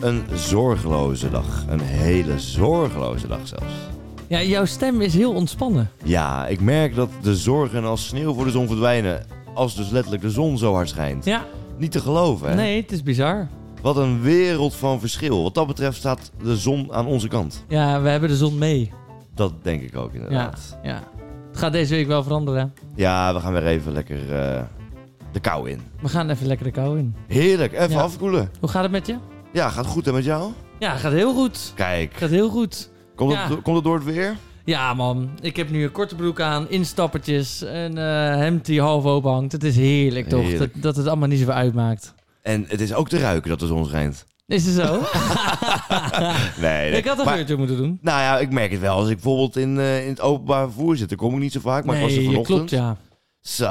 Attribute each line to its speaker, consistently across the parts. Speaker 1: een zorgeloze dag. Een hele zorgeloze dag zelfs.
Speaker 2: Ja, jouw stem is heel ontspannen.
Speaker 1: Ja, ik merk dat de zorgen als sneeuw voor de zon verdwijnen. Als dus letterlijk de zon zo hard schijnt.
Speaker 2: Ja,
Speaker 1: Niet te geloven, hè?
Speaker 2: nee, het is bizar.
Speaker 1: Wat een wereld van verschil. Wat dat betreft staat de zon aan onze kant.
Speaker 2: Ja, we hebben de zon mee.
Speaker 1: Dat denk ik ook
Speaker 2: Ja,
Speaker 1: inderdaad.
Speaker 2: ja. Het gaat deze week wel veranderen.
Speaker 1: Ja, we gaan weer even lekker eh, de kou in.
Speaker 2: We gaan even lekker de kou in.
Speaker 1: Heerlijk, even
Speaker 2: Ja.
Speaker 1: afkoelen.
Speaker 2: Hoe gaat het met je?
Speaker 1: Ja, gaat goed en met jou?
Speaker 2: Ja, gaat heel goed.
Speaker 1: Kijk,
Speaker 2: Gaat heel goed.
Speaker 1: komt,
Speaker 2: Ja.
Speaker 1: het, do- komt het door het weer?
Speaker 2: Ja, man. Ik heb nu een korte broek aan, instappertjes, een eh hemd die half open hangt. Het is heerlijk, toch?
Speaker 1: Heerlijk.
Speaker 2: Dat, dat het allemaal niet zoveel uitmaakt.
Speaker 1: En het is ook te ruiken dat de zon schijnt.
Speaker 2: Is het zo?
Speaker 1: Nee, nee.
Speaker 2: ik had een
Speaker 1: Maar-
Speaker 2: geurtje moeten doen.
Speaker 1: Nou ja, ik merk het wel. Als ik bijvoorbeeld in, eh, in het openbaar vervoer zit, dan kom ik niet zo vaak. Maar ik was er
Speaker 2: nee,
Speaker 1: vanochtend.
Speaker 2: klopt, ja.
Speaker 1: Zo,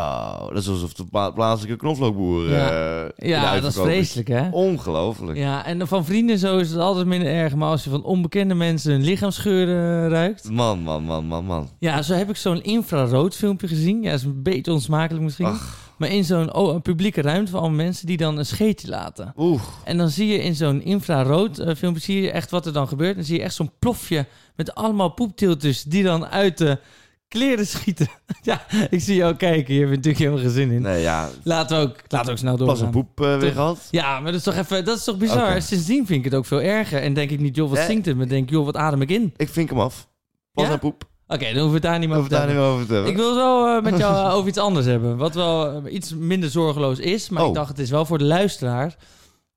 Speaker 1: dat is alsof de pla- plaatselijke knoflookboer
Speaker 2: Ja.
Speaker 1: eh, in de
Speaker 2: Ja, dat is
Speaker 1: uitverkoop
Speaker 2: vreselijk, hè?
Speaker 1: Ongelooflijk.
Speaker 2: Ja, en van vrienden zo is het altijd minder erg. Maar als je van onbekende mensen hun lichaamsgeur eh, ruikt.
Speaker 1: Man, man, man, man, man.
Speaker 2: Ja, zo heb ik zo'n infrarood filmpje gezien. Ja, is een beetje onsmakelijk misschien. Maar in zo'n oh, een publieke ruimte van allemaal mensen die dan een scheetje laten.
Speaker 1: Oeh,
Speaker 2: En dan zie je in zo'n infrarood eh, filmpje zie je echt wat er dan gebeurt. Dan zie je echt zo'n plofje met allemaal poeptiltjes die dan uit de kleren schieten. ja, ik zie jou kijken. Je hebt er natuurlijk helemaal geen zin in.
Speaker 1: nee ja.
Speaker 2: Laten we ook, laten we ook snel
Speaker 1: Pas een
Speaker 2: doorgaan.
Speaker 1: poep eh, weer
Speaker 2: Toch?
Speaker 1: gehad.
Speaker 2: Ja, maar dat is toch even, dat is toch bizar.
Speaker 1: Oké.
Speaker 2: Sindsdien vind ik het ook veel erger. En denk ik niet, joh, wat
Speaker 1: Eh.
Speaker 2: stinkt het? Maar denk ik, joh, wat adem ik in?
Speaker 1: Ik vink hem af. Pas
Speaker 2: Ja?
Speaker 1: een poep.
Speaker 2: Oké, dan hoeven we het daar niet meer
Speaker 1: Over
Speaker 2: over te
Speaker 1: daar niet
Speaker 2: hebben.
Speaker 1: meer over te hebben.
Speaker 2: Ik wil zo eh, met jou eh, over iets anders hebben. Wat wel eh, iets minder zorgeloos is. Maar
Speaker 1: Oh.
Speaker 2: ik dacht, het is wel voor de luisteraar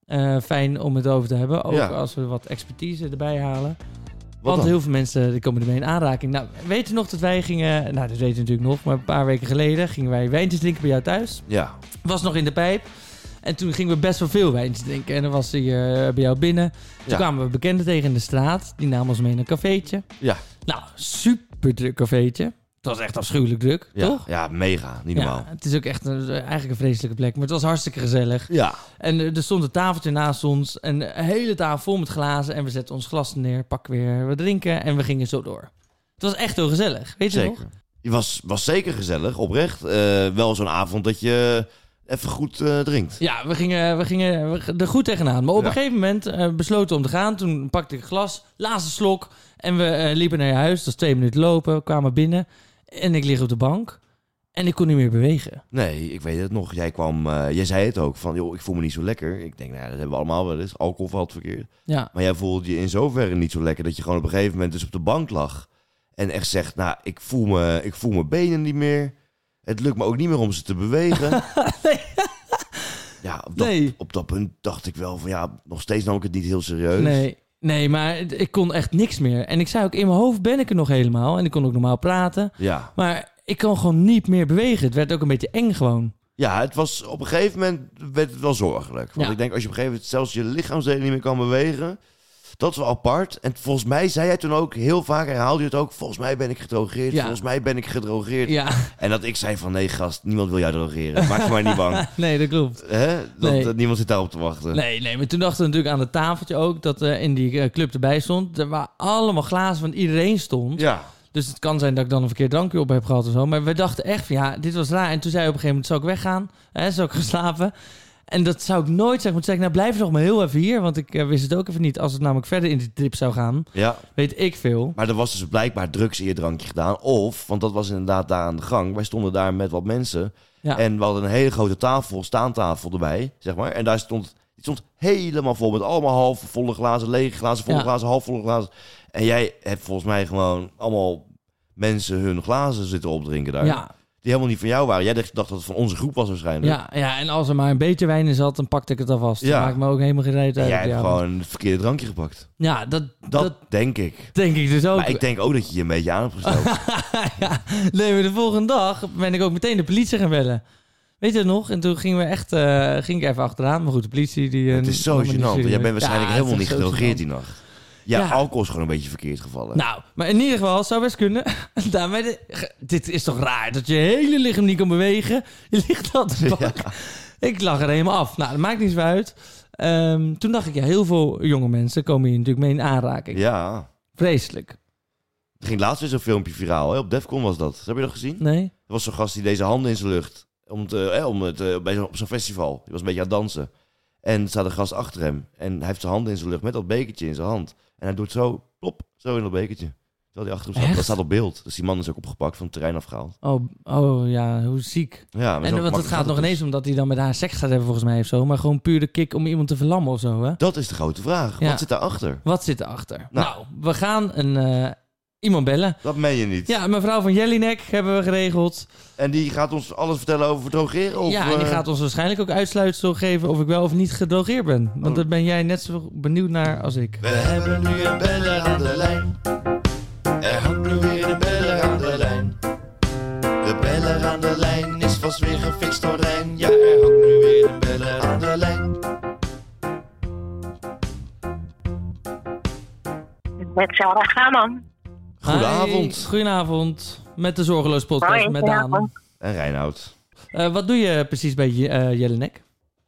Speaker 2: eh, fijn om het over te hebben. Ook
Speaker 1: Ja.
Speaker 2: als we wat expertise erbij halen.
Speaker 1: Wat
Speaker 2: Want
Speaker 1: dan?
Speaker 2: heel veel mensen die komen ermee in aanraking. Nou, weet je nog dat wij gingen... Nou, dat weten we natuurlijk nog. Maar een paar weken geleden gingen wij wijntjes drinken bij jou thuis.
Speaker 1: Ja.
Speaker 2: was nog in de pijp. En toen gingen we best wel veel wijntjes drinken. En dan was hij eh, bij jou binnen. Toen
Speaker 1: Ja.
Speaker 2: kwamen we bekenden tegen in de straat. Die namen ons mee naar een cafeetje.
Speaker 1: Ja.
Speaker 2: Nou, super druk cafeetje. Het was echt afschuwelijk druk,
Speaker 1: Ja.
Speaker 2: toch?
Speaker 1: ja, mega. Niet normaal.
Speaker 2: Ja, het is ook echt een, eigenlijk een vreselijke plek. Maar het was hartstikke gezellig.
Speaker 1: Ja.
Speaker 2: En eh, er stond een tafeltje naast ons. En een hele tafel vol met glazen. En we zetten ons glas neer, pak weer wat drinken. En we gingen zo door. Het was echt heel gezellig. Weet je nog?
Speaker 1: Zeker. Je was, was zeker gezellig, oprecht. Eh, wel zo'n avond dat je even goed eh, drinkt.
Speaker 2: Ja, we gingen, we gingen we g- er goed tegenaan. Maar op
Speaker 1: Ja.
Speaker 2: een gegeven moment eh, besloten om te gaan. Toen pakte ik een glas, laatste slok. En we eh, liepen naar je huis. Dat was twee minuten lopen. We kwamen binnen. En ik lig op de bank. En ik kon niet meer bewegen.
Speaker 1: Nee, ik weet het nog. Jij kwam, eh, jij zei het ook van, joh, ik voel me niet zo lekker. Ik denk, nou, ja, dat hebben we allemaal wel eens. Alcohol valt verkeerd.
Speaker 2: Ja,
Speaker 1: Maar jij voelde je in zoverre niet zo lekker dat je gewoon op een gegeven moment dus op de bank lag en echt zegt, nou, ik voel me, ik voel mijn benen niet meer. Het lukt me ook niet meer om ze te bewegen. Ja, op dat,
Speaker 2: Nee.
Speaker 1: op dat punt dacht ik wel van, ja, nog steeds nam ik het niet heel serieus.
Speaker 2: nee. Nee, maar het- ik kon echt niks meer. En ik zei ook, in mijn hoofd ben ik er nog helemaal. En ik kon ook normaal praten.
Speaker 1: Ja.
Speaker 2: Maar ik kon gewoon niet meer bewegen. Het werd ook een beetje eng gewoon.
Speaker 1: ja, het was op een gegeven moment werd het wel zorgelijk. Want
Speaker 2: Ja.
Speaker 1: ik denk, als je op een gegeven moment zelfs je lichaamsdelen niet meer kan bewegen, dat is wel apart. En volgens mij zei jij toen ook heel vaak, herhaalde je het ook, volgens mij ben ik gedrogeerd,
Speaker 2: Ja.
Speaker 1: volgens mij ben ik gedrogeerd.
Speaker 2: Ja,
Speaker 1: En dat ik zei van, nee gast, niemand wil jou drogeren. Maak je maar niet bang.
Speaker 2: nee, dat klopt.
Speaker 1: Hè? Dat,
Speaker 2: Nee.
Speaker 1: dat niemand zit daarop te wachten.
Speaker 2: Nee, nee, maar toen dachten we natuurlijk aan het tafeltje ook dat eh, in die eh, club erbij stond. Er waren allemaal glazen van iedereen stond.
Speaker 1: Ja.
Speaker 2: Dus het kan zijn dat ik dan een verkeerd drankje op heb gehad of zo. Maar we dachten echt van ja, dit was raar. En toen zei je op een gegeven moment, zou ik weggaan? Hè, zou ik gaan slapen? En dat zou ik nooit zeggen. Maar toen zei ik, nou blijf nog maar heel even hier. Want ik eh, wist het ook even niet. Als het namelijk verder in die trip zou gaan,
Speaker 1: ja.
Speaker 2: weet ik veel.
Speaker 1: Maar er was dus blijkbaar drugs in je drankje gedaan. Of, want dat was inderdaad daar aan de gang. Wij stonden daar met wat mensen.
Speaker 2: Ja.
Speaker 1: En we hadden een hele grote tafel, staantafel erbij, zeg maar. En daar stond, die stond helemaal vol met allemaal half volle glazen, lege glazen, volle
Speaker 2: Ja.
Speaker 1: glazen, half volle glazen. En jij hebt volgens mij gewoon allemaal mensen hun glazen zitten opdrinken daar.
Speaker 2: Ja,
Speaker 1: Die helemaal niet van jou waren. Jij dacht dacht dat het van onze groep was waarschijnlijk.
Speaker 2: ja, ja, en als er maar een beetje wijn in zat, dan pakte ik het alvast.
Speaker 1: Ja.
Speaker 2: Ja. Maakt me ook helemaal geen reet
Speaker 1: En
Speaker 2: uit.
Speaker 1: jij hebt
Speaker 2: op die avond.
Speaker 1: gewoon het verkeerde drankje gepakt.
Speaker 2: Ja, dat, dat...
Speaker 1: Dat, denk ik.
Speaker 2: denk ik dus ook.
Speaker 1: Maar ik denk ook dat je je een beetje aan hebt gesteld.
Speaker 2: ja, nee, maar de volgende dag ben ik ook meteen de politie gaan bellen. Weet je dat nog? En toen gingen we echt, eh, ging ik even achteraan. Maar goed, de politie die... eh,
Speaker 1: het is zo
Speaker 2: nam me
Speaker 1: gênant.
Speaker 2: niet
Speaker 1: want Jij
Speaker 2: serieus.
Speaker 1: bent waarschijnlijk
Speaker 2: Ja,
Speaker 1: helemaal
Speaker 2: het
Speaker 1: niet
Speaker 2: is zo
Speaker 1: gedrogeerd
Speaker 2: gênant.
Speaker 1: die nacht. Ja,
Speaker 2: Ja.
Speaker 1: alcohol is gewoon een beetje verkeerd gevallen.
Speaker 2: Nou, maar in ieder geval, zou best kunnen. Daarmee de- ge- dit is toch raar, dat je hele lichaam niet kan bewegen. Je ligt al te bank. Ik lag er helemaal af. Nou, dat maakt niet zo uit. Ehm, toen dacht ik, ja, heel veel jonge mensen komen hier natuurlijk mee in aanraking.
Speaker 1: ja.
Speaker 2: Vreselijk.
Speaker 1: Er ging laatst weer zo'n filmpje viraal. Hè? Op Defcon was dat. Heb je dat gezien?
Speaker 2: Nee?
Speaker 1: Er was zo'n gast die deze handen in zijn lucht. Om het, eh, om het, eh, bij zo'n- op zo'n festival. Die was een beetje aan het dansen. En er staat een gast achter hem. En hij heeft zijn handen in zijn lucht met dat bekertje in zijn hand. En hij doet zo, plop, zo in dat bekertje. Terwijl hij achter hem staat.
Speaker 2: Echt?
Speaker 1: Dat staat op beeld. Dus die man is ook opgepakt, van het terrein afgehaald.
Speaker 2: Oh, oh ja, hoe ziek.
Speaker 1: Ja, maar zo
Speaker 2: En eh, want het
Speaker 1: makkelijk
Speaker 2: gaat nog
Speaker 1: dus.
Speaker 2: ineens om dat hij dan met haar seks gaat hebben volgens mij of zo. Maar gewoon puur de kick om iemand te verlammen of zo, hè?
Speaker 1: dus. Dat is de grote vraag.
Speaker 2: Ja.
Speaker 1: Wat zit daarachter?
Speaker 2: Wat zit erachter?
Speaker 1: Nou.
Speaker 2: Nou, we gaan een, eh, iemand bellen.
Speaker 1: Dat meen je niet.
Speaker 2: Ja, mevrouw van Jellinek hebben we geregeld.
Speaker 1: En die gaat ons alles vertellen over drogeren? Of,
Speaker 2: ja, en die
Speaker 1: eh,
Speaker 2: gaat ons waarschijnlijk ook uitsluitsel geven of ik wel of niet gedrogeerd ben. Want
Speaker 1: Oh.
Speaker 2: daar ben jij net zo benieuwd naar als ik.
Speaker 1: We hebben nu een beller aan de lijn. Er hangt nu weer een beller aan de lijn. De beller aan de lijn is vast weer gefixt door Rijn. Ja, er hangt nu weer een beller aan de lijn.
Speaker 3: Met Sarah Gaman.
Speaker 2: Hi, goedenavond. Met de Zorgeloos Podcast
Speaker 3: Hoi,
Speaker 2: met Daan.
Speaker 3: goedenavond.
Speaker 1: En Reinoud.
Speaker 2: Eh, wat doe je precies bij Je- eh, Jellinek?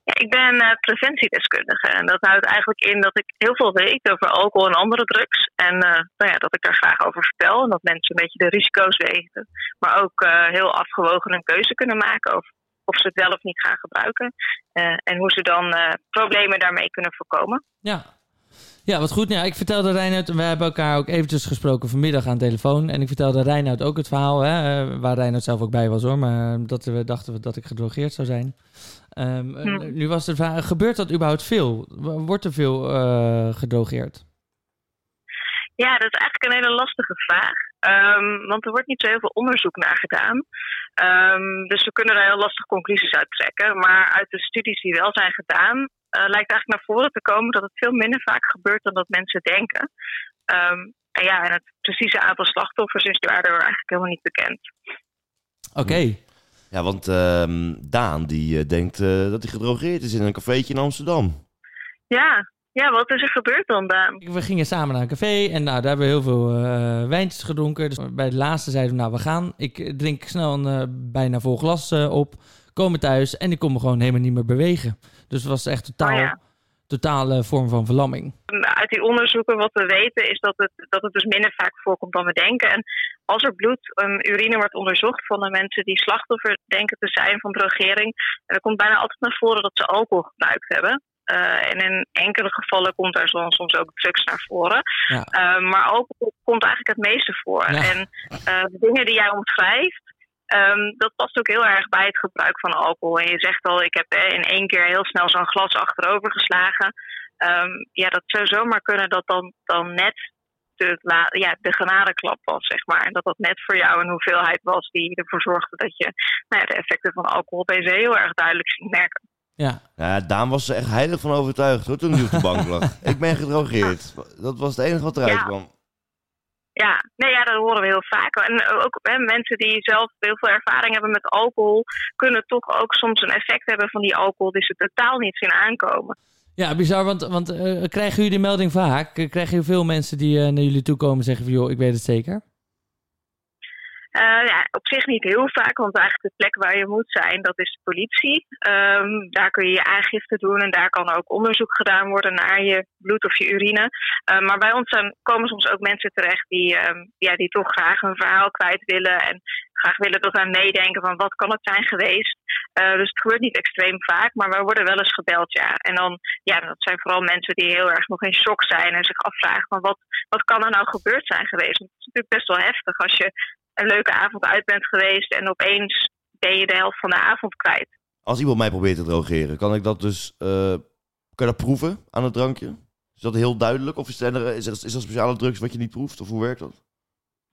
Speaker 3: Ja, ik ben eh, preventiedeskundige en dat houdt eigenlijk in dat ik heel veel weet over alcohol en andere drugs. En eh, nou ja, dat ik daar graag over vertel en dat mensen een beetje de risico's weten. Maar ook eh, heel afgewogen een keuze kunnen maken over of ze het wel of niet gaan gebruiken. Eh, en hoe ze dan eh, problemen daarmee kunnen voorkomen.
Speaker 2: Ja. Ja, wat goed. Ja, ik vertelde Reinoud, we hebben elkaar ook eventjes gesproken vanmiddag aan de telefoon. En ik vertelde Reinoud ook het verhaal, hè, eh, waar Reinoud zelf ook bij was hoor. Maar eh, dat we dachten we dat ik gedrogeerd zou zijn. Ehm, eh,
Speaker 3: Hm.
Speaker 2: Nu was de vraag, gebeurt dat überhaupt veel? W- Wordt er veel eh gedrogeerd?
Speaker 3: Ja, dat is eigenlijk een hele lastige vraag. Ehm, want er wordt niet zo heel veel onderzoek naar gedaan. Ehm, dus we kunnen daar heel lastig conclusies uit trekken. Maar uit de studies die wel zijn gedaan, eh, lijkt eigenlijk naar voren te komen dat het veel minder vaak gebeurt dan dat mensen denken. Ehm, en ja, en het precieze aantal slachtoffers is daardoor eigenlijk helemaal niet bekend.
Speaker 2: Oké.
Speaker 1: Ja, want ehm, Daan die eh, denkt eh, dat hij gedrogeerd is in een cafeetje in Amsterdam.
Speaker 3: Ja, ja wat is er gebeurd dan, Daan?
Speaker 2: Ik- We gingen samen naar een café en nou, daar hebben we heel veel eh, wijntjes gedronken. Dus bij de laatste zeiden we, nou, we gaan. Ik eh, drink snel een eh, bijna vol glas eh, op, komen thuis en ik kon me gewoon helemaal niet meer bewegen. Dus het was echt totaal,
Speaker 3: Oh ja.
Speaker 2: totale eh, vorm van verlamming.
Speaker 3: uit die onderzoeken wat we weten is dat het, dat het dus minder vaak voorkomt dan we denken. En als er bloed, ehm, urine wordt onderzocht van de mensen die slachtoffer denken te zijn van drogering, dan komt bijna altijd naar voren dat ze alcohol gebruikt hebben. Eh, en in enkele gevallen komt daar dan soms ook drugs naar voren.
Speaker 2: Ja.
Speaker 3: Eh, maar alcohol komt eigenlijk het meeste voor.
Speaker 2: Ja.
Speaker 3: En eh, de dingen die jij omschrijft, ehm, dat past ook heel erg bij het gebruik van alcohol. En je zegt al, ik heb eh, in één keer heel snel zo'n glas achterover geslagen. Ehm, ja, dat zou zomaar kunnen dat dan, dan net de, la- ja, de genadeklap was, zeg maar. En dat dat net voor jou een hoeveelheid was die ervoor zorgde dat je nou ja, de effecten van alcohol deze heel erg duidelijk ziet merken.
Speaker 2: Ja,
Speaker 1: Ja, Daan was er echt heilig van overtuigd hoor, toen hij op de bank lag. Ik ben gedrogeerd. Dat was het enige wat eruit
Speaker 3: Ja.
Speaker 1: kwam.
Speaker 3: Ja, nee, ja, dat horen we heel vaak. En ook hè, mensen die zelf heel veel ervaring hebben met alcohol, kunnen toch ook soms een effect hebben van die alcohol die ze totaal niet zien aankomen.
Speaker 2: ja bizar, want, want eh, krijgen jullie die melding vaak? Eh, Krijgen jullie veel mensen die eh, naar jullie toe komen en zeggen van, joh, ik weet het zeker?
Speaker 3: Eh, ja, op zich niet heel vaak, want eigenlijk de plek waar je moet zijn, dat is de politie. Ehm, daar kun je je aangifte doen en daar kan ook onderzoek gedaan worden naar je bloed of je urine. Eh, maar bij ons zijn, komen soms ook mensen terecht die, ehm, ja, die toch graag hun verhaal kwijt willen en graag willen dat wij meedenken van wat kan het zijn geweest. Eh, dus het gebeurt niet extreem vaak, maar wij worden wel eens gebeld, ja. En dan, ja, dat zijn vooral mensen die heel erg nog in shock zijn en zich afvragen van wat, wat kan er nou gebeurd zijn geweest. Want het is natuurlijk best wel heftig als je een leuke avond uit bent geweest en opeens ben je de helft van de avond kwijt.
Speaker 1: Als iemand mij probeert te drogeren, kan ik dat dus eh, kan je dat proeven aan het drankje? Is dat heel duidelijk? Of is, er, is, er, is er speciale drugs wat je niet proeft? Of hoe werkt dat?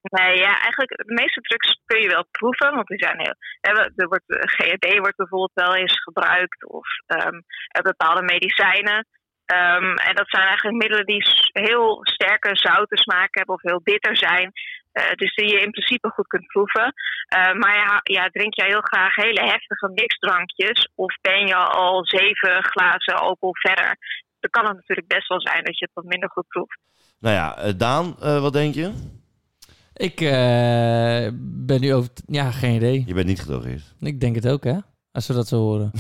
Speaker 3: Nee, ja, eigenlijk de meeste drugs kun je wel proeven, want die zijn heel. hè, we- Er wordt, eh, GHB wordt bijvoorbeeld wel eens gebruikt of ehm, eh, bepaalde medicijnen. Ehm, en dat zijn eigenlijk middelen die s- heel sterke zoute smaak hebben of heel bitter zijn. Eh, dus die je in principe goed kunt proeven. Eh, maar ja, ja, drink jij heel graag hele heftige mixdrankjes of ben je al zeven glazen alcohol verder? Dan kan het natuurlijk best wel zijn dat je het wat minder goed proeft.
Speaker 1: Nou ja, eh, Daan, eh, wat denk je?
Speaker 2: Ik eh, ben nu over... Ja, geen idee.
Speaker 1: Je bent niet gedrogeerd.
Speaker 2: Ik denk het ook, hè? Als we dat zo horen.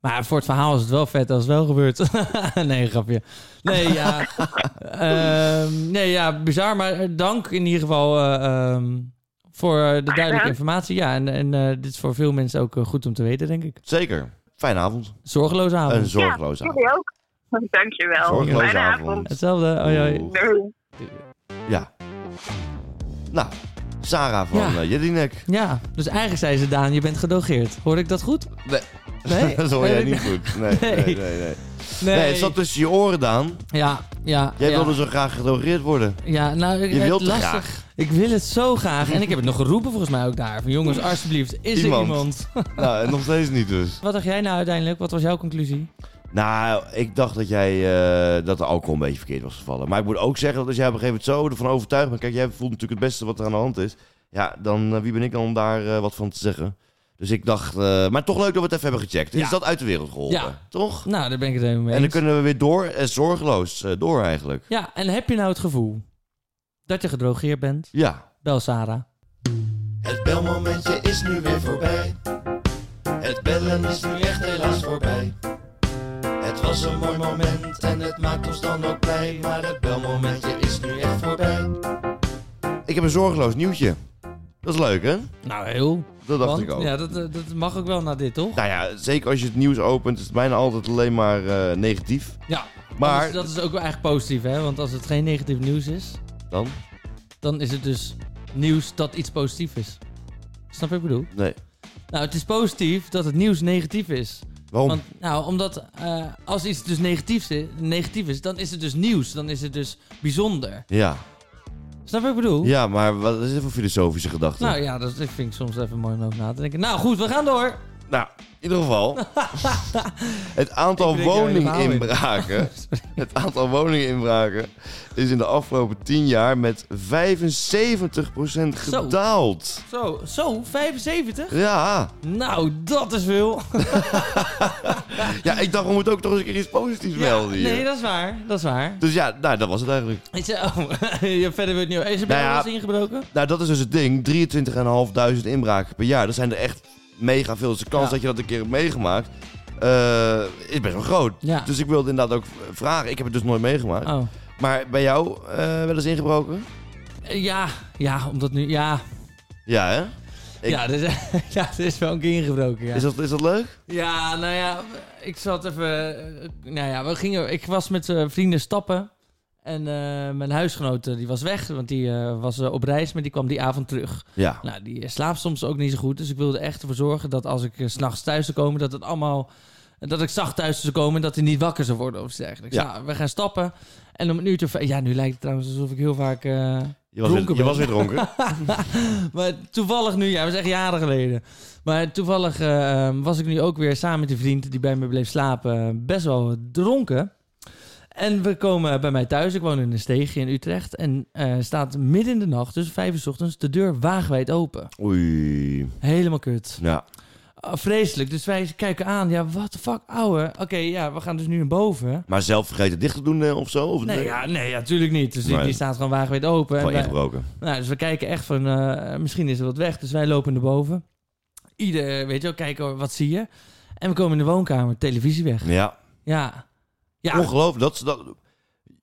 Speaker 2: maar voor het verhaal is het wel vet als het wel gebeurt. nee, grapje. Nee, ja. Ehm, nee, ja, bizar. Maar eh, dank in ieder geval eh, ehm, voor eh, de duidelijke
Speaker 3: gedaan.
Speaker 2: informatie. Ja, en, en eh, dit is voor veel mensen ook eh, goed om te weten, denk ik.
Speaker 1: Zeker. Fijne avond.
Speaker 2: Zorgeloze avond.
Speaker 1: Een zorgeloze
Speaker 3: ja,
Speaker 1: avond.
Speaker 3: jullie ook. Dankjewel.
Speaker 1: Zorgeloze
Speaker 3: Fijne
Speaker 1: avond.
Speaker 2: Hetzelfde. Oi, oi.
Speaker 1: Oeh,
Speaker 3: Doei.
Speaker 1: Ja. Nou, Sarah van
Speaker 2: Ja.
Speaker 1: eh, Jelinek.
Speaker 2: Ja, dus eigenlijk zei ze Daan, je bent gedogeerd. Hoor ik dat goed?
Speaker 1: Nee.
Speaker 2: Nee,
Speaker 1: dat hoor jij
Speaker 2: nee,
Speaker 1: niet goed. Nee, nee,
Speaker 2: Nee.
Speaker 1: nee. nee, nee. het zat tussen je oren, Daan.
Speaker 2: Ja, ja.
Speaker 1: Jij
Speaker 2: ja.
Speaker 1: wilde zo graag gedrogeerd worden.
Speaker 2: Ja, nou, ik,
Speaker 1: Je
Speaker 2: het
Speaker 1: wilt het
Speaker 2: lastig.
Speaker 1: graag.
Speaker 2: Ik wil het zo graag. En ik heb het nog geroepen volgens mij ook daar. Van jongens, alsjeblieft, is
Speaker 1: Iemand.
Speaker 2: er iemand?
Speaker 1: Nou, en nog steeds niet dus.
Speaker 2: Wat dacht jij nou uiteindelijk? Wat was jouw conclusie?
Speaker 1: Nou, ik dacht dat jij eh, dat de alcohol een beetje verkeerd was gevallen. Maar ik moet ook zeggen dat als jij op een gegeven moment zo ervan overtuigd bent. Kijk, jij voelt natuurlijk het beste wat er aan de hand is. Ja, dan eh, wie ben ik dan om daar eh, wat van te zeggen? Dus ik dacht, eh, maar toch leuk dat we het even hebben gecheckt.
Speaker 2: Ja.
Speaker 1: Is dat uit de wereld geholpen?
Speaker 2: Ja.
Speaker 1: Toch?
Speaker 2: Nou, daar ben ik het helemaal mee
Speaker 1: En dan
Speaker 2: eens.
Speaker 1: kunnen we weer door, eh, zorgeloos eh, door eigenlijk.
Speaker 2: Ja, en heb je nou het gevoel dat je gedrogeerd bent?
Speaker 1: Ja.
Speaker 2: Bel Sarah.
Speaker 1: Het belmomentje is nu weer voorbij. Het bellen is nu echt helaas voorbij. Het was een mooi moment en het maakt ons dan ook blij. Maar het belmomentje is nu echt voorbij. Ik heb een zorgeloos nieuwtje. Dat is leuk, hè?
Speaker 2: Nou, heel.
Speaker 1: Dat dacht
Speaker 2: Want-
Speaker 1: ik ook.
Speaker 2: Ja, dat, eh, dat mag ook wel na dit, toch?
Speaker 1: Nou ja, zeker als je het nieuws opent, is het bijna altijd alleen maar eh, negatief.
Speaker 2: Ja.
Speaker 1: Maar-
Speaker 2: Anders- dat is ook wel eigenlijk positief, hè? Want als het geen negatief nieuws is,
Speaker 1: Dan?
Speaker 2: dan is het dus nieuws dat iets positief is. Snap je wat ik bedoel?
Speaker 1: Nee.
Speaker 2: Nou, het is positief dat het nieuws negatief is.
Speaker 1: Waarom?
Speaker 2: Want, nou, omdat eh, als iets dus negatief is, negatief is, dan is het dus nieuws. Dan is het dus bijzonder.
Speaker 1: Ja.
Speaker 2: Snap je wat ik bedoel?
Speaker 1: ja, maar wat is dit voor filosofische gedachte?
Speaker 2: Nou ja, dat dat vind ik soms even mooi om over na te denken. Nou goed, we gaan door.
Speaker 1: Nou, in ieder geval. het aantal
Speaker 2: Ik breek jou
Speaker 1: woninginbraken. Het aantal woninginbraken is in de afgelopen 10 jaar met 75%
Speaker 2: Zo.
Speaker 1: gedaald.
Speaker 2: Zo, zo, 75?
Speaker 1: Ja.
Speaker 2: Nou, dat is veel.
Speaker 1: ja, ik dacht we moeten ook toch eens een keer iets positiefs melden hier.
Speaker 2: nee, dat is waar. Dat is waar.
Speaker 1: Dus ja, nou, dat was het eigenlijk.
Speaker 2: Ik zei, oh, je verder wordt niet. Is er bij
Speaker 1: Nou ja.
Speaker 2: alles ingebroken?
Speaker 1: Nou, dat is dus het ding. 23.500 inbraken per jaar. Dat zijn er echt mega veel. Dus de kans
Speaker 2: Ja.
Speaker 1: dat je dat een keer hebt meegemaakt eh, is best wel groot.
Speaker 2: Ja.
Speaker 1: Dus ik wilde inderdaad ook vragen. Ik heb het dus nooit meegemaakt.
Speaker 2: Oh.
Speaker 1: Maar bij jou eh, wel eens ingebroken?
Speaker 2: Eh, Ja, ja, omdat nu. Ja,
Speaker 1: Ja, hè? Ik-
Speaker 2: ja, er is, ja, er is wel een keer ingebroken. Ja.
Speaker 1: Is, dat, is dat leuk?
Speaker 2: Ja, nou ja, ik zat even. eh, Nou ja, we gingen, ik was met eh, vrienden stappen. En eh, mijn huisgenoot eh, die was weg, want die eh, was eh, op reis, maar die kwam die avond terug.
Speaker 1: Ja.
Speaker 2: Nou, die slaapt soms ook niet zo goed. Dus ik wilde echt ervoor zorgen dat als ik eh, 's s'nachts thuis zou komen, dat het allemaal. Dat ik zacht thuis zou komen en dat hij niet wakker zou worden of iets dergelijks.
Speaker 1: Ja.
Speaker 2: Nou, we gaan stappen. En om een uurtje... of- Ja, nu lijkt het trouwens alsof ik heel vaak...
Speaker 1: Je
Speaker 2: eh,
Speaker 1: was, weer, je
Speaker 2: Dronken ben.
Speaker 1: was weer dronken.
Speaker 2: maar toevallig nu, ja, dat is echt jaren geleden. Maar toevallig eh, ehm, was ik nu ook weer samen met een vriend die bij me bleef slapen, eh, best wel dronken. En we komen bij mij thuis. Ik woon in een steegje in Utrecht. En eh, staat midden in de nacht, dus vijf uur 's ochtends, de deur waagwijd open.
Speaker 1: Oei.
Speaker 2: Helemaal kut.
Speaker 1: Ja.
Speaker 2: Ah, vreselijk. Dus wij kijken aan. Ja, what the fuck, ouwe. Oké, ja, we gaan dus nu naar boven.
Speaker 1: Maar zelf vergeten dicht te doen eh, of zo? Of
Speaker 2: Nee, ja, nee, natuurlijk niet. Dus die,
Speaker 1: Nee.
Speaker 2: die staat gewoon waagwijd open. En
Speaker 1: Gewoon
Speaker 2: wij-
Speaker 1: ingebroken.
Speaker 2: Nou, dus we kijken echt van, eh, misschien is er wat weg. Dus wij lopen naar boven. Ieder, weet je wel, kijken hoor, wat zie je. En we komen in de woonkamer, televisie weg.
Speaker 1: Ja.
Speaker 2: Ja. Ja.
Speaker 1: Ongelooflijk. Dat, ze dat,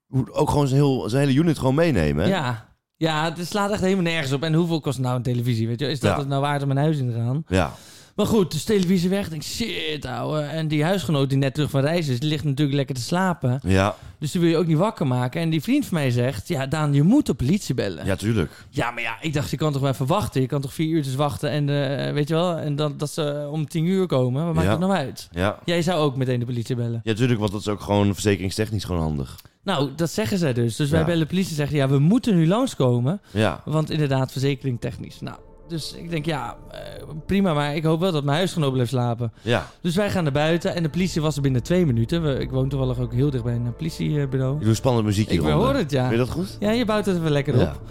Speaker 1: hoe- ook gewoon zijn, heel, zijn hele unit gewoon meenemen. Hè?
Speaker 2: ja. Ja, het slaat echt helemaal nergens op. En hoeveel kost nou een televisie, weet je wel? Is dat
Speaker 1: Ja.
Speaker 2: het nou waard om een huis in te gaan?
Speaker 1: Ja.
Speaker 2: Maar goed, dus televisie weg. Ik denk, shit, ouwe. En die huisgenoot die net terug van reis is, die ligt natuurlijk lekker te slapen.
Speaker 1: Ja.
Speaker 2: Dus die wil je ook niet wakker maken. En die vriend van mij zegt, ja, Daan, je moet de politie bellen.
Speaker 1: Ja, tuurlijk.
Speaker 2: Ja, maar ja, ik dacht, je kan toch wel even wachten. Je kan toch vier uurtjes wachten en eh, weet je wel, en dan, dat ze om tien uur komen. Wat maakt
Speaker 1: Ja.
Speaker 2: dat nou uit?
Speaker 1: Ja.
Speaker 2: Jij zou ook meteen de politie bellen.
Speaker 1: Ja, tuurlijk, want dat is ook gewoon verzekeringstechnisch gewoon handig.
Speaker 2: Nou, dat zeggen zij dus. Dus wij
Speaker 1: Ja.
Speaker 2: bellen de politie en zeggen, ja, we moeten nu langskomen.
Speaker 1: Ja.
Speaker 2: Want inderdaad, verzekering technisch. Nou, dus ik denk, ja, eh, prima, maar ik hoop wel dat mijn huisgenoot blijft slapen.
Speaker 1: Ja.
Speaker 2: Dus wij gaan naar buiten en de politie was er binnen twee minuten. We, ik woon toevallig ook heel dicht bij een
Speaker 1: Ik
Speaker 2: politiebureau.
Speaker 1: doe spannende muziek
Speaker 2: Ik
Speaker 1: hieronder.
Speaker 2: hoor het, ja.
Speaker 1: Vind je dat goed?
Speaker 2: Ja, je bouwt het even lekker
Speaker 1: Ja.
Speaker 2: op.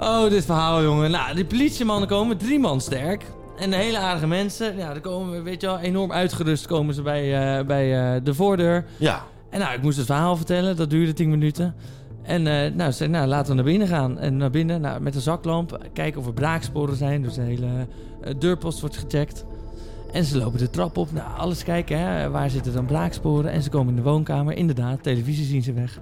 Speaker 2: Oh, dit verhaal, jongen. Nou, die politiemannen komen drie man sterk. En hele aardige mensen. Ja, er komen, weet je wel, enorm uitgerust komen ze bij, eh, bij eh, de voordeur.
Speaker 1: Ja.
Speaker 2: En nou, ik moest het verhaal vertellen. Dat duurde tien minuten. En eh, nou, ze zei, nou, laten we naar binnen gaan. En naar binnen, nou, met een zaklamp. Kijken of er braaksporen zijn. Dus de hele eh, deurpost wordt gecheckt. En ze lopen de trap op. Nou, alles kijken, hè. Waar zitten dan braaksporen? En ze komen in de woonkamer. Inderdaad, televisie zien ze weg.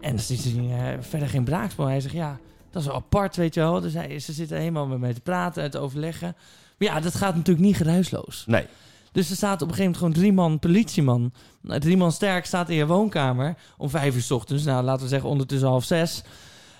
Speaker 2: En ze zien eh, verder geen braakspoor. Hij zegt, ja, dat is wel apart, weet je wel. Dus hij, ze zitten helemaal met mij te praten en te overleggen. Maar ja, dat gaat natuurlijk niet geruisloos.
Speaker 1: Nee.
Speaker 2: Dus er staat op een gegeven moment gewoon drie man politieman. Nou, Drie man sterk staat in je woonkamer om vijf uur 's ochtends. Nou, laten we zeggen ondertussen half zes.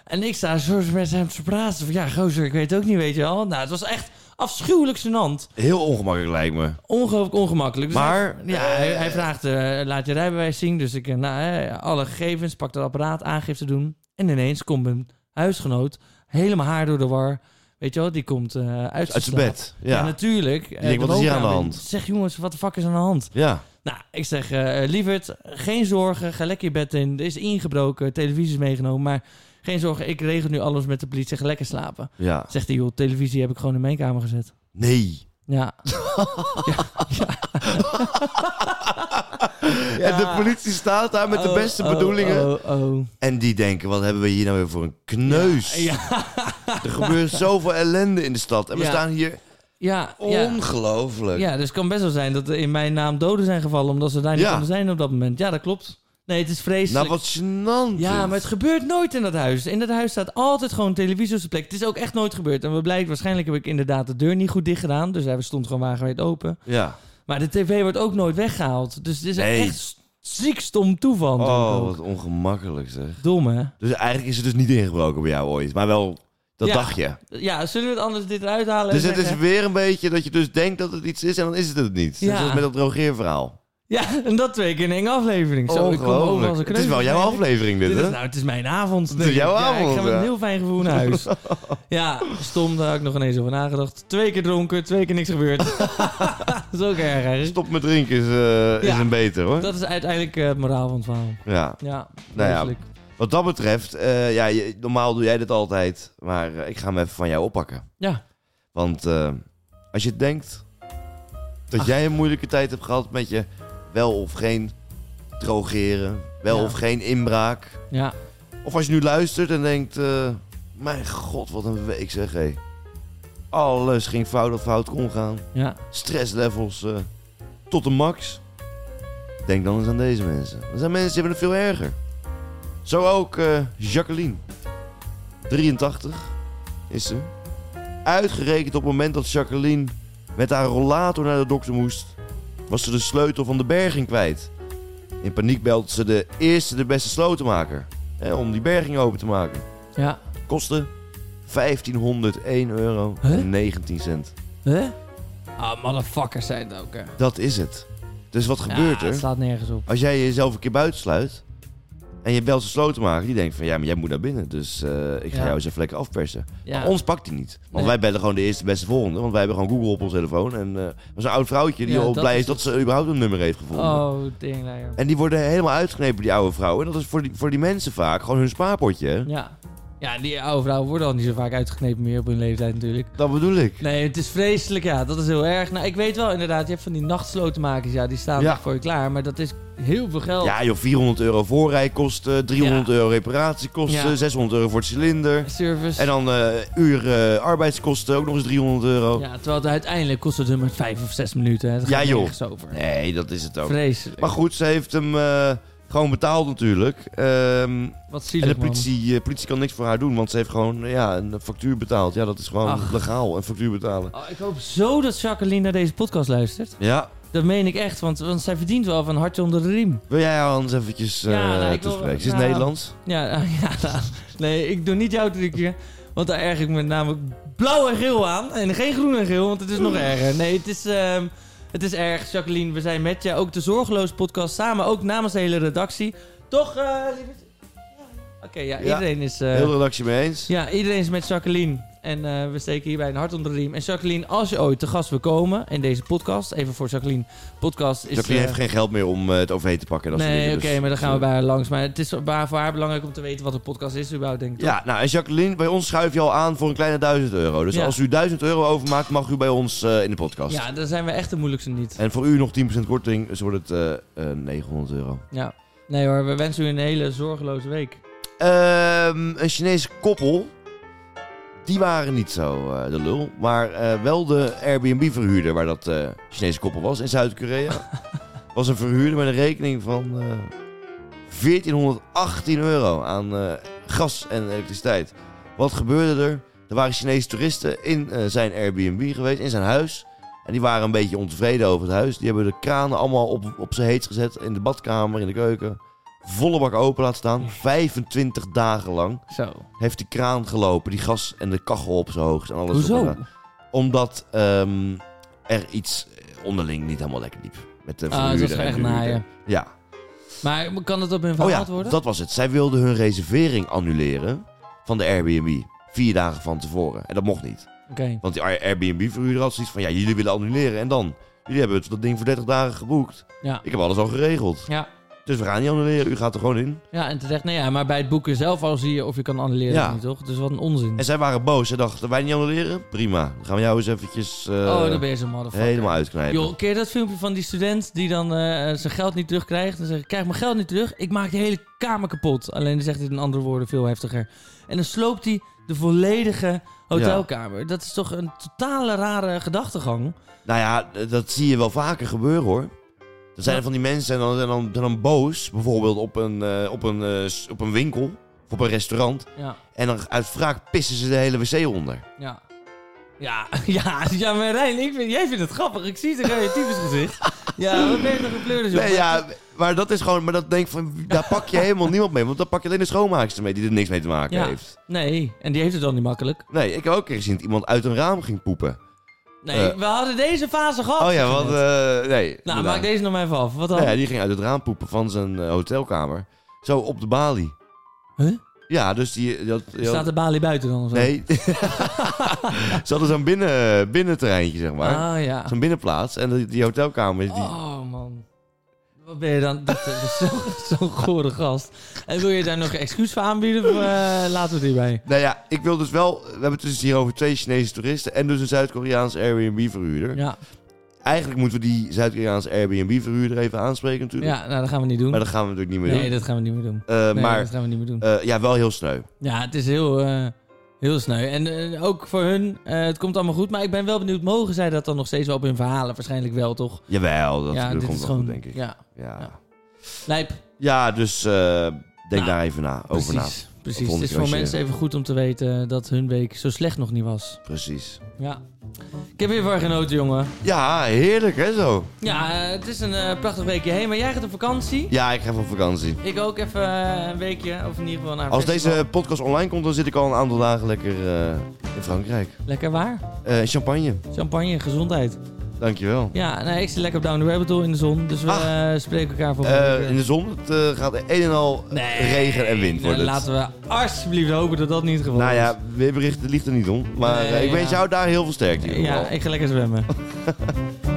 Speaker 2: En ik sta zo met hem te praten. Van, ja, gozer, ik weet het ook niet, weet je wel. Nou, het was echt afschuwelijk gênant.
Speaker 1: Heel ongemakkelijk lijkt me.
Speaker 2: Ongelooflijk ongemakkelijk. Dus
Speaker 1: Maar,
Speaker 2: hij- ja,
Speaker 1: eh,
Speaker 2: hij, hij vraagt, eh, laat je rijbewijs zien. Dus ik, eh, nou, eh, alle gegevens, pak dat apparaat, aangifte doen. En ineens komt mijn huisgenoot, helemaal haar door de war. Weet je wel, die komt eh, uit,
Speaker 1: Uit zijn
Speaker 2: slaap.
Speaker 1: bed.
Speaker 2: Ja,
Speaker 1: Ja.
Speaker 2: natuurlijk. Eh,
Speaker 1: denkt,
Speaker 2: de
Speaker 1: wat is hier aan de
Speaker 2: woonkamer.
Speaker 1: hand?
Speaker 2: Ik Zeg, jongens, wat de fuck is aan de hand?
Speaker 1: Ja.
Speaker 2: Nou, ik zeg, eh lieverd, geen zorgen. Ga lekker je bed in. Er is ingebroken, televisie is meegenomen. Maar geen zorgen, ik regel nu alles met de politie. Ga lekker slapen.
Speaker 1: Ja.
Speaker 2: Zegt hij, joh, televisie heb ik gewoon in mijn kamer gezet.
Speaker 1: Nee.
Speaker 2: Ja.
Speaker 1: En de politie staat daar met de
Speaker 2: Ah. Oh,
Speaker 1: beste
Speaker 2: oh,
Speaker 1: bedoelingen.
Speaker 2: Oh, oh.
Speaker 1: En die denken, wat hebben we hier nou weer voor een kneus?
Speaker 2: Ja,
Speaker 1: Er gebeurt zoveel ellende in de stad. En we
Speaker 2: Ja.
Speaker 1: staan hier
Speaker 2: ja, ja.
Speaker 1: ongelooflijk.
Speaker 2: Ja, dus het kan best wel zijn dat er in mijn naam doden zijn gevallen... omdat ze daar niet
Speaker 1: Ja.
Speaker 2: konden zijn op dat moment. Ja, dat klopt. Nee, het is vreselijk.
Speaker 1: Nou, wat gênant.
Speaker 2: Ja,
Speaker 1: dit.
Speaker 2: maar het gebeurt nooit in dat huis. In dat huis staat altijd gewoon televisie op zijn plek. Het is ook echt nooit gebeurd. En wat blijkt, waarschijnlijk heb ik inderdaad de deur niet goed dicht gedaan. Dus hij stond gewoon wagenwijd open.
Speaker 1: Ja.
Speaker 2: Maar de tv wordt ook nooit weggehaald. Dus het is
Speaker 1: Nee.
Speaker 2: echt s- ziek stom
Speaker 1: Oh,
Speaker 2: toeval. natuurlijk ook.
Speaker 1: wat ongemakkelijk zeg.
Speaker 2: Dom, hè?
Speaker 1: Dus eigenlijk is het dus niet ingebroken bij jou ooit. Maar wel, dat
Speaker 2: Ja.
Speaker 1: dacht je.
Speaker 2: Ja, zullen we het anders dit eruit halen? en
Speaker 1: Dus het is
Speaker 2: zeggen-
Speaker 1: weer een beetje dat je dus denkt dat het iets is en dan is het het niet.
Speaker 2: Ja.
Speaker 1: Net zoals met dat drogeerverhaal.
Speaker 2: Ja, en dat twee keer in één aflevering. Zo, ik kom overal als een
Speaker 1: Ongelooflijk. Het is wel jouw
Speaker 2: kneus.
Speaker 1: aflevering dit,
Speaker 2: Dit is,
Speaker 1: hè?
Speaker 2: nou, het is mijn avond.
Speaker 1: is
Speaker 2: denk ik.
Speaker 1: jouw
Speaker 2: Ja, Ik
Speaker 1: avond,
Speaker 2: ga met een
Speaker 1: ja.
Speaker 2: heel fijn gevoel naar huis. ja, stom, daar had ik nog ineens over nagedacht. Twee keer dronken, twee keer niks gebeurd. dat is ook erg eigenlijk.
Speaker 1: Stop met drinken is, eh,
Speaker 2: Ja.
Speaker 1: is een beter, hoor.
Speaker 2: Dat is uiteindelijk eh, het moraal van het verhaal.
Speaker 1: Ja.
Speaker 2: Ja,
Speaker 1: Nou ja.
Speaker 2: vreselijk.
Speaker 1: Wat dat betreft, eh, ja, je- normaal doe jij dit altijd. Maar eh, ik ga hem even van jou oppakken.
Speaker 2: Ja.
Speaker 1: Want eh, als je denkt dat jij een moeilijke tijd hebt gehad met je wel of geen drogeren, wel
Speaker 2: Ja.
Speaker 1: of geen inbraak.
Speaker 2: ja.
Speaker 1: Of als je nu luistert en denkt, eh, mijn god, wat een week zeg hé. Alles ging fout dat fout kon gaan.
Speaker 2: Ja,
Speaker 1: Stresslevels eh, tot de max. Denk dan eens aan deze mensen. Er zijn mensen die hebben het veel erger. Zo ook eh, Jacqueline. 83 is ze. Uitgerekend op het moment dat Jacqueline met haar rollator naar de dokter moest, was ze de sleutel van de berging kwijt. In paniek belde ze de eerste de beste slotenmaker hè, om die berging open te maken.
Speaker 2: ja.
Speaker 1: Kostte 1501 euro en 19 cent.
Speaker 2: Hè? Ah, motherfuckers zijn het ook, hè.
Speaker 1: Dat is het. Dus wat
Speaker 2: Ja,
Speaker 1: gebeurt
Speaker 2: Het
Speaker 1: er?
Speaker 2: slaat nergens op.
Speaker 1: Als jij jezelf een keer buitensluit en je belt zijn slotenmaker, die denkt van ja, maar jij moet naar binnen, dus eh, ik ga
Speaker 2: Ja.
Speaker 1: jou eens even lekker afpersen.
Speaker 2: Ja.
Speaker 1: Maar ons pakt hij niet. Want
Speaker 2: Nee.
Speaker 1: wij bellen gewoon de eerste beste volgende, want wij hebben gewoon Google op ons telefoon. En eh dat is een oud vrouwtje die
Speaker 2: Ja,
Speaker 1: al
Speaker 2: dat
Speaker 1: blij
Speaker 2: is
Speaker 1: is dat ze überhaupt een nummer heeft gevonden.
Speaker 2: Oh, dingleier.
Speaker 1: En die worden helemaal uitgeknepen, die oude vrouwen. En dat is voor die, voor die mensen vaak gewoon hun spaarpotje. hè?
Speaker 2: Ja. Ja, die oude vrouwen worden al niet zo vaak uitgeknepen meer op hun leeftijd natuurlijk.
Speaker 1: Dat bedoel ik.
Speaker 2: Nee, het is vreselijk, ja. Dat is heel erg. Nou, ik weet wel inderdaad, je hebt van die nachtslotenmakers, ja, die staan
Speaker 1: Ja.
Speaker 2: nog voor je klaar. Maar dat is heel veel geld.
Speaker 1: Ja joh, 400 euro voorrijkosten, 300
Speaker 2: Ja.
Speaker 1: euro reparatiekosten,
Speaker 2: Ja.
Speaker 1: 600 euro voor het cilinder.
Speaker 2: Service.
Speaker 1: En dan eh, uur eh, arbeidskosten, ook nog eens 300 euro.
Speaker 2: Ja, terwijl het uiteindelijk kost het hun maar vijf of zes minuten. Hè. Dat
Speaker 1: Ja,
Speaker 2: gaat
Speaker 1: joh.
Speaker 2: nergens over.
Speaker 1: Nee, dat is het ook.
Speaker 2: Vreselijk.
Speaker 1: Maar goed, ze heeft hem eh, gewoon betaald natuurlijk. Ehm,
Speaker 2: Wat
Speaker 1: en
Speaker 2: zielig,
Speaker 1: de politie, eh, politie kan niks voor haar doen, want ze heeft gewoon ja, een factuur betaald. Ja, dat is gewoon
Speaker 2: Ach.
Speaker 1: legaal, een factuur betalen.
Speaker 2: man. Oh, ik hoop zo dat Jacqueline naar deze podcast luistert.
Speaker 1: Ja,
Speaker 2: Dat meen ik echt, want, want zij verdient wel van hartje onder de riem.
Speaker 1: wil jij haar anders eventjes eh
Speaker 2: Ja, nou, ik wil-
Speaker 1: toespreken? Ze is
Speaker 2: nou,
Speaker 1: Nederlands.
Speaker 2: Ja, ja nou, nee, ik doe niet jouw trucje. Want daar erg ik me namelijk blauw en geel aan. En geen groen en geel, want het is nog erger. Nee, het is, ehm, het is erg, Jacqueline. We zijn met je. Ook de Zorgeloos Podcast samen, ook namens de hele redactie. Toch, eh, lieverd? Ja. Oké, ja,
Speaker 1: Ja.
Speaker 2: iedereen is... eh,
Speaker 1: Heel de redactie mee eens.
Speaker 2: ja, iedereen is met Jacqueline. En eh, we steken hierbij een hart onder de riem. En Jacqueline, als je ooit te gast wil komen in deze podcast... Even voor Jacqueline, podcast is...
Speaker 1: Jacqueline
Speaker 2: eh,
Speaker 1: heeft geen geld meer om eh, het OV te pakken. en Dat soort
Speaker 2: Nee,
Speaker 1: dingen,
Speaker 2: oké,
Speaker 1: dus-
Speaker 2: maar dan gaan we bij haar langs. Maar het is voor haar- voor haar belangrijk om te weten wat een podcast is überhaupt, denk ik.
Speaker 1: Ja, nou en Jacqueline, bij ons schuif je al aan voor een kleine 1000 euro. Dus
Speaker 2: Ja.
Speaker 1: als u 1000 euro overmaakt, mag u bij ons eh, in de podcast.
Speaker 2: Ja, daar zijn we echt de moeilijkste niet.
Speaker 1: En voor u nog 10% korting, dus wordt het eh, eh, 900 euro.
Speaker 2: Ja. Nee hoor, we wensen u een hele zorgeloze week.
Speaker 1: Ehm, een Chinese koppel. Die waren niet zo eh, de lul. Maar eh, wel de Airbnb-verhuurder waar dat eh, Chinese koppel was in Zuid-Korea. was een verhuurder met een rekening van eh 1418 euro aan eh, gas en elektriciteit. Wat gebeurde er? Er waren Chinese toeristen in eh, zijn Airbnb geweest, in zijn huis. En die waren een beetje ontevreden over het huis. Die hebben de kranen allemaal op, op zijn heets gezet. In de badkamer, in de keuken. Volle bak open laten staan. 25 dagen lang
Speaker 2: Zo.
Speaker 1: heeft die kraan gelopen. Die gas en de kachel op zijn hoogst. En alles op eh, en
Speaker 2: Hoezo? Ah,
Speaker 1: aan. Omdat ehm, er iets eh, onderling niet helemaal lekker liep. Met de
Speaker 2: Ah, dat
Speaker 1: verhuurder
Speaker 2: is
Speaker 1: en
Speaker 2: echt
Speaker 1: huurder.
Speaker 2: naaien.
Speaker 1: Ja.
Speaker 2: Maar kan dat op hun
Speaker 1: Oh
Speaker 2: verhaald
Speaker 1: ja,
Speaker 2: worden?
Speaker 1: dat was het. Zij wilden hun reservering annuleren van de Airbnb. Vier dagen van tevoren. En dat mocht niet.
Speaker 2: Oké.
Speaker 1: Want die Airbnb-verhuurder had zoiets van... Ja, jullie willen annuleren. En dan? Jullie hebben het- dat ding voor 30 dagen geboekt.
Speaker 2: Ja.
Speaker 1: Ik heb alles al geregeld.
Speaker 2: Ja.
Speaker 1: Dus we gaan niet annuleren. U gaat er gewoon in.
Speaker 2: ja, en terecht. Nee, ja, maar bij het boeken zelf al zie je of je kan annuleren
Speaker 1: Ja.
Speaker 2: of niet, toch? Dus wat een onzin.
Speaker 1: En zij waren boos. Zij dachten, wij niet annuleren? Prima. Dan gaan we jou eens eventjes... eh,
Speaker 2: oh, dan ben je zo'n motherfucker.
Speaker 1: helemaal uitknijpen.
Speaker 2: Joh, ken je dat filmpje van die student die dan eh, zijn geld niet terugkrijgt? Dan zegt hij, krijg mijn geld niet terug, ik maak de hele kamer kapot. Alleen dan zegt hij het in andere woorden veel heftiger. En dan sloopt hij de volledige hotelkamer. Dat is toch een totale rare gedachtegang?
Speaker 1: Nou ja, d- dat zie je wel vaker gebeuren hoor. Er zijn
Speaker 2: Ja.
Speaker 1: van die mensen en dan, en dan, en dan boos, bijvoorbeeld op een, eh, op, een, eh, s- op een winkel of op een restaurant.
Speaker 2: Ja,
Speaker 1: En dan uit wraak pissen ze de hele wc onder.
Speaker 2: ja. Ja, ja, ja maar Rijn, ik vind, jij vindt het grappig. Ik zie het in je typisch gezicht. Ja, wat ben je toch een pleuris, joh.
Speaker 1: Nee, ja, maar dat is gewoon, maar dat denk ik van, daar pak je helemaal niemand mee. Want daar pak je alleen de schoonmaakster mee die er niks mee te maken
Speaker 2: Ja.
Speaker 1: heeft.
Speaker 2: Nee, en die heeft het dan niet makkelijk.
Speaker 1: Nee, ik heb ook een keer gezien dat iemand uit een raam ging poepen.
Speaker 2: Nee,
Speaker 1: Eh.
Speaker 2: we hadden deze fase gehad.
Speaker 1: oh ja,
Speaker 2: zeg je
Speaker 1: wat,
Speaker 2: net.
Speaker 1: eh nee.
Speaker 2: Nou,
Speaker 1: inderdaad.
Speaker 2: maak deze nog maar even af. Wat dan?
Speaker 1: Ja, die ging uit het raam poepen van zijn eh, hotelkamer. Zo op de balie.
Speaker 2: Huh?
Speaker 1: Ja, dus die... die had- die had-
Speaker 2: Staat de balie buiten dan of zo?
Speaker 1: Nee. ze hadden zo'n binnen, binnenterreintje, zeg maar.
Speaker 2: Ah ja.
Speaker 1: Zo'n binnenplaats. En die, die hotelkamer is die...
Speaker 2: Oh man. Wat ben je dan? Dat dat is zo- zo'n gore gast. En wil je daar nog een excuus voor aanbieden? Of, eh, laten we het hierbij.
Speaker 1: Nou ja, ik wil dus wel... We hebben het dus hier over twee Chinese toeristen... en dus een Zuid-Koreaans Airbnb-verhuurder.
Speaker 2: Ja,
Speaker 1: Eigenlijk moeten we die Zuid-Koreaans Airbnb-verhuurder even aanspreken natuurlijk.
Speaker 2: ja nou, dat gaan we niet doen.
Speaker 1: Maar dat gaan we natuurlijk niet meer
Speaker 2: nee,
Speaker 1: doen.
Speaker 2: dat gaan we niet meer doen.
Speaker 1: Eh,
Speaker 2: Nee,
Speaker 1: maar
Speaker 2: dat gaan we niet meer doen.
Speaker 1: eh, ja, wel heel sneu.
Speaker 2: Ja, het is heel, eh, heel sneu. En eh, ook voor hun, eh, het komt allemaal goed. Maar ik ben wel benieuwd, mogen zij dat dan nog steeds wel op hun verhalen? Waarschijnlijk wel, toch?
Speaker 1: Jawel, dat,
Speaker 2: ja,
Speaker 1: dat komt wel goed, denk ik. Ja,
Speaker 2: Ja,
Speaker 1: ja.
Speaker 2: lijp.
Speaker 1: dus eh, denk
Speaker 2: Nou,
Speaker 1: daar even na, over na.
Speaker 2: Precies. Precies.
Speaker 1: Volgende
Speaker 2: Het is
Speaker 1: keer
Speaker 2: voor
Speaker 1: als je-
Speaker 2: mensen even goed om te weten dat hun week zo slecht nog niet was.
Speaker 1: Precies.
Speaker 2: Ja. Ik heb weer voor genoten, jongen.
Speaker 1: Ja, heerlijk hè zo.
Speaker 2: Ja, eh, het is een eh, prachtig weekje heen, maar jij gaat op vakantie.
Speaker 1: Ja, ik ga even op vakantie.
Speaker 2: Ik ook even eh, een weekje, of in ieder geval naar een
Speaker 1: Als
Speaker 2: festival.
Speaker 1: deze podcast online komt, dan zit ik al een aantal dagen lekker eh, in Frankrijk.
Speaker 2: Lekker waar?
Speaker 1: Eh, in champagne,
Speaker 2: Champagne, gezondheid.
Speaker 1: dankjewel.
Speaker 2: Ja, nee, ik zit lekker op Down the Rabbit Hole in de zon, dus we
Speaker 1: Ach.
Speaker 2: eh, spreken elkaar voor
Speaker 1: Ah. Eh, in de zon het, eh, gaat een en al regen en wind worden. het.
Speaker 2: Laten we alsjeblieft hopen dat dat niet het geval
Speaker 1: Nou
Speaker 2: is.
Speaker 1: ja, weerbericht het ligt er niet om. Maar
Speaker 2: Nee,
Speaker 1: eh, ik
Speaker 2: ja.
Speaker 1: wens jou daar heel veel sterkte in ieder
Speaker 2: Ja,
Speaker 1: geval.
Speaker 2: ik ga lekker zwemmen.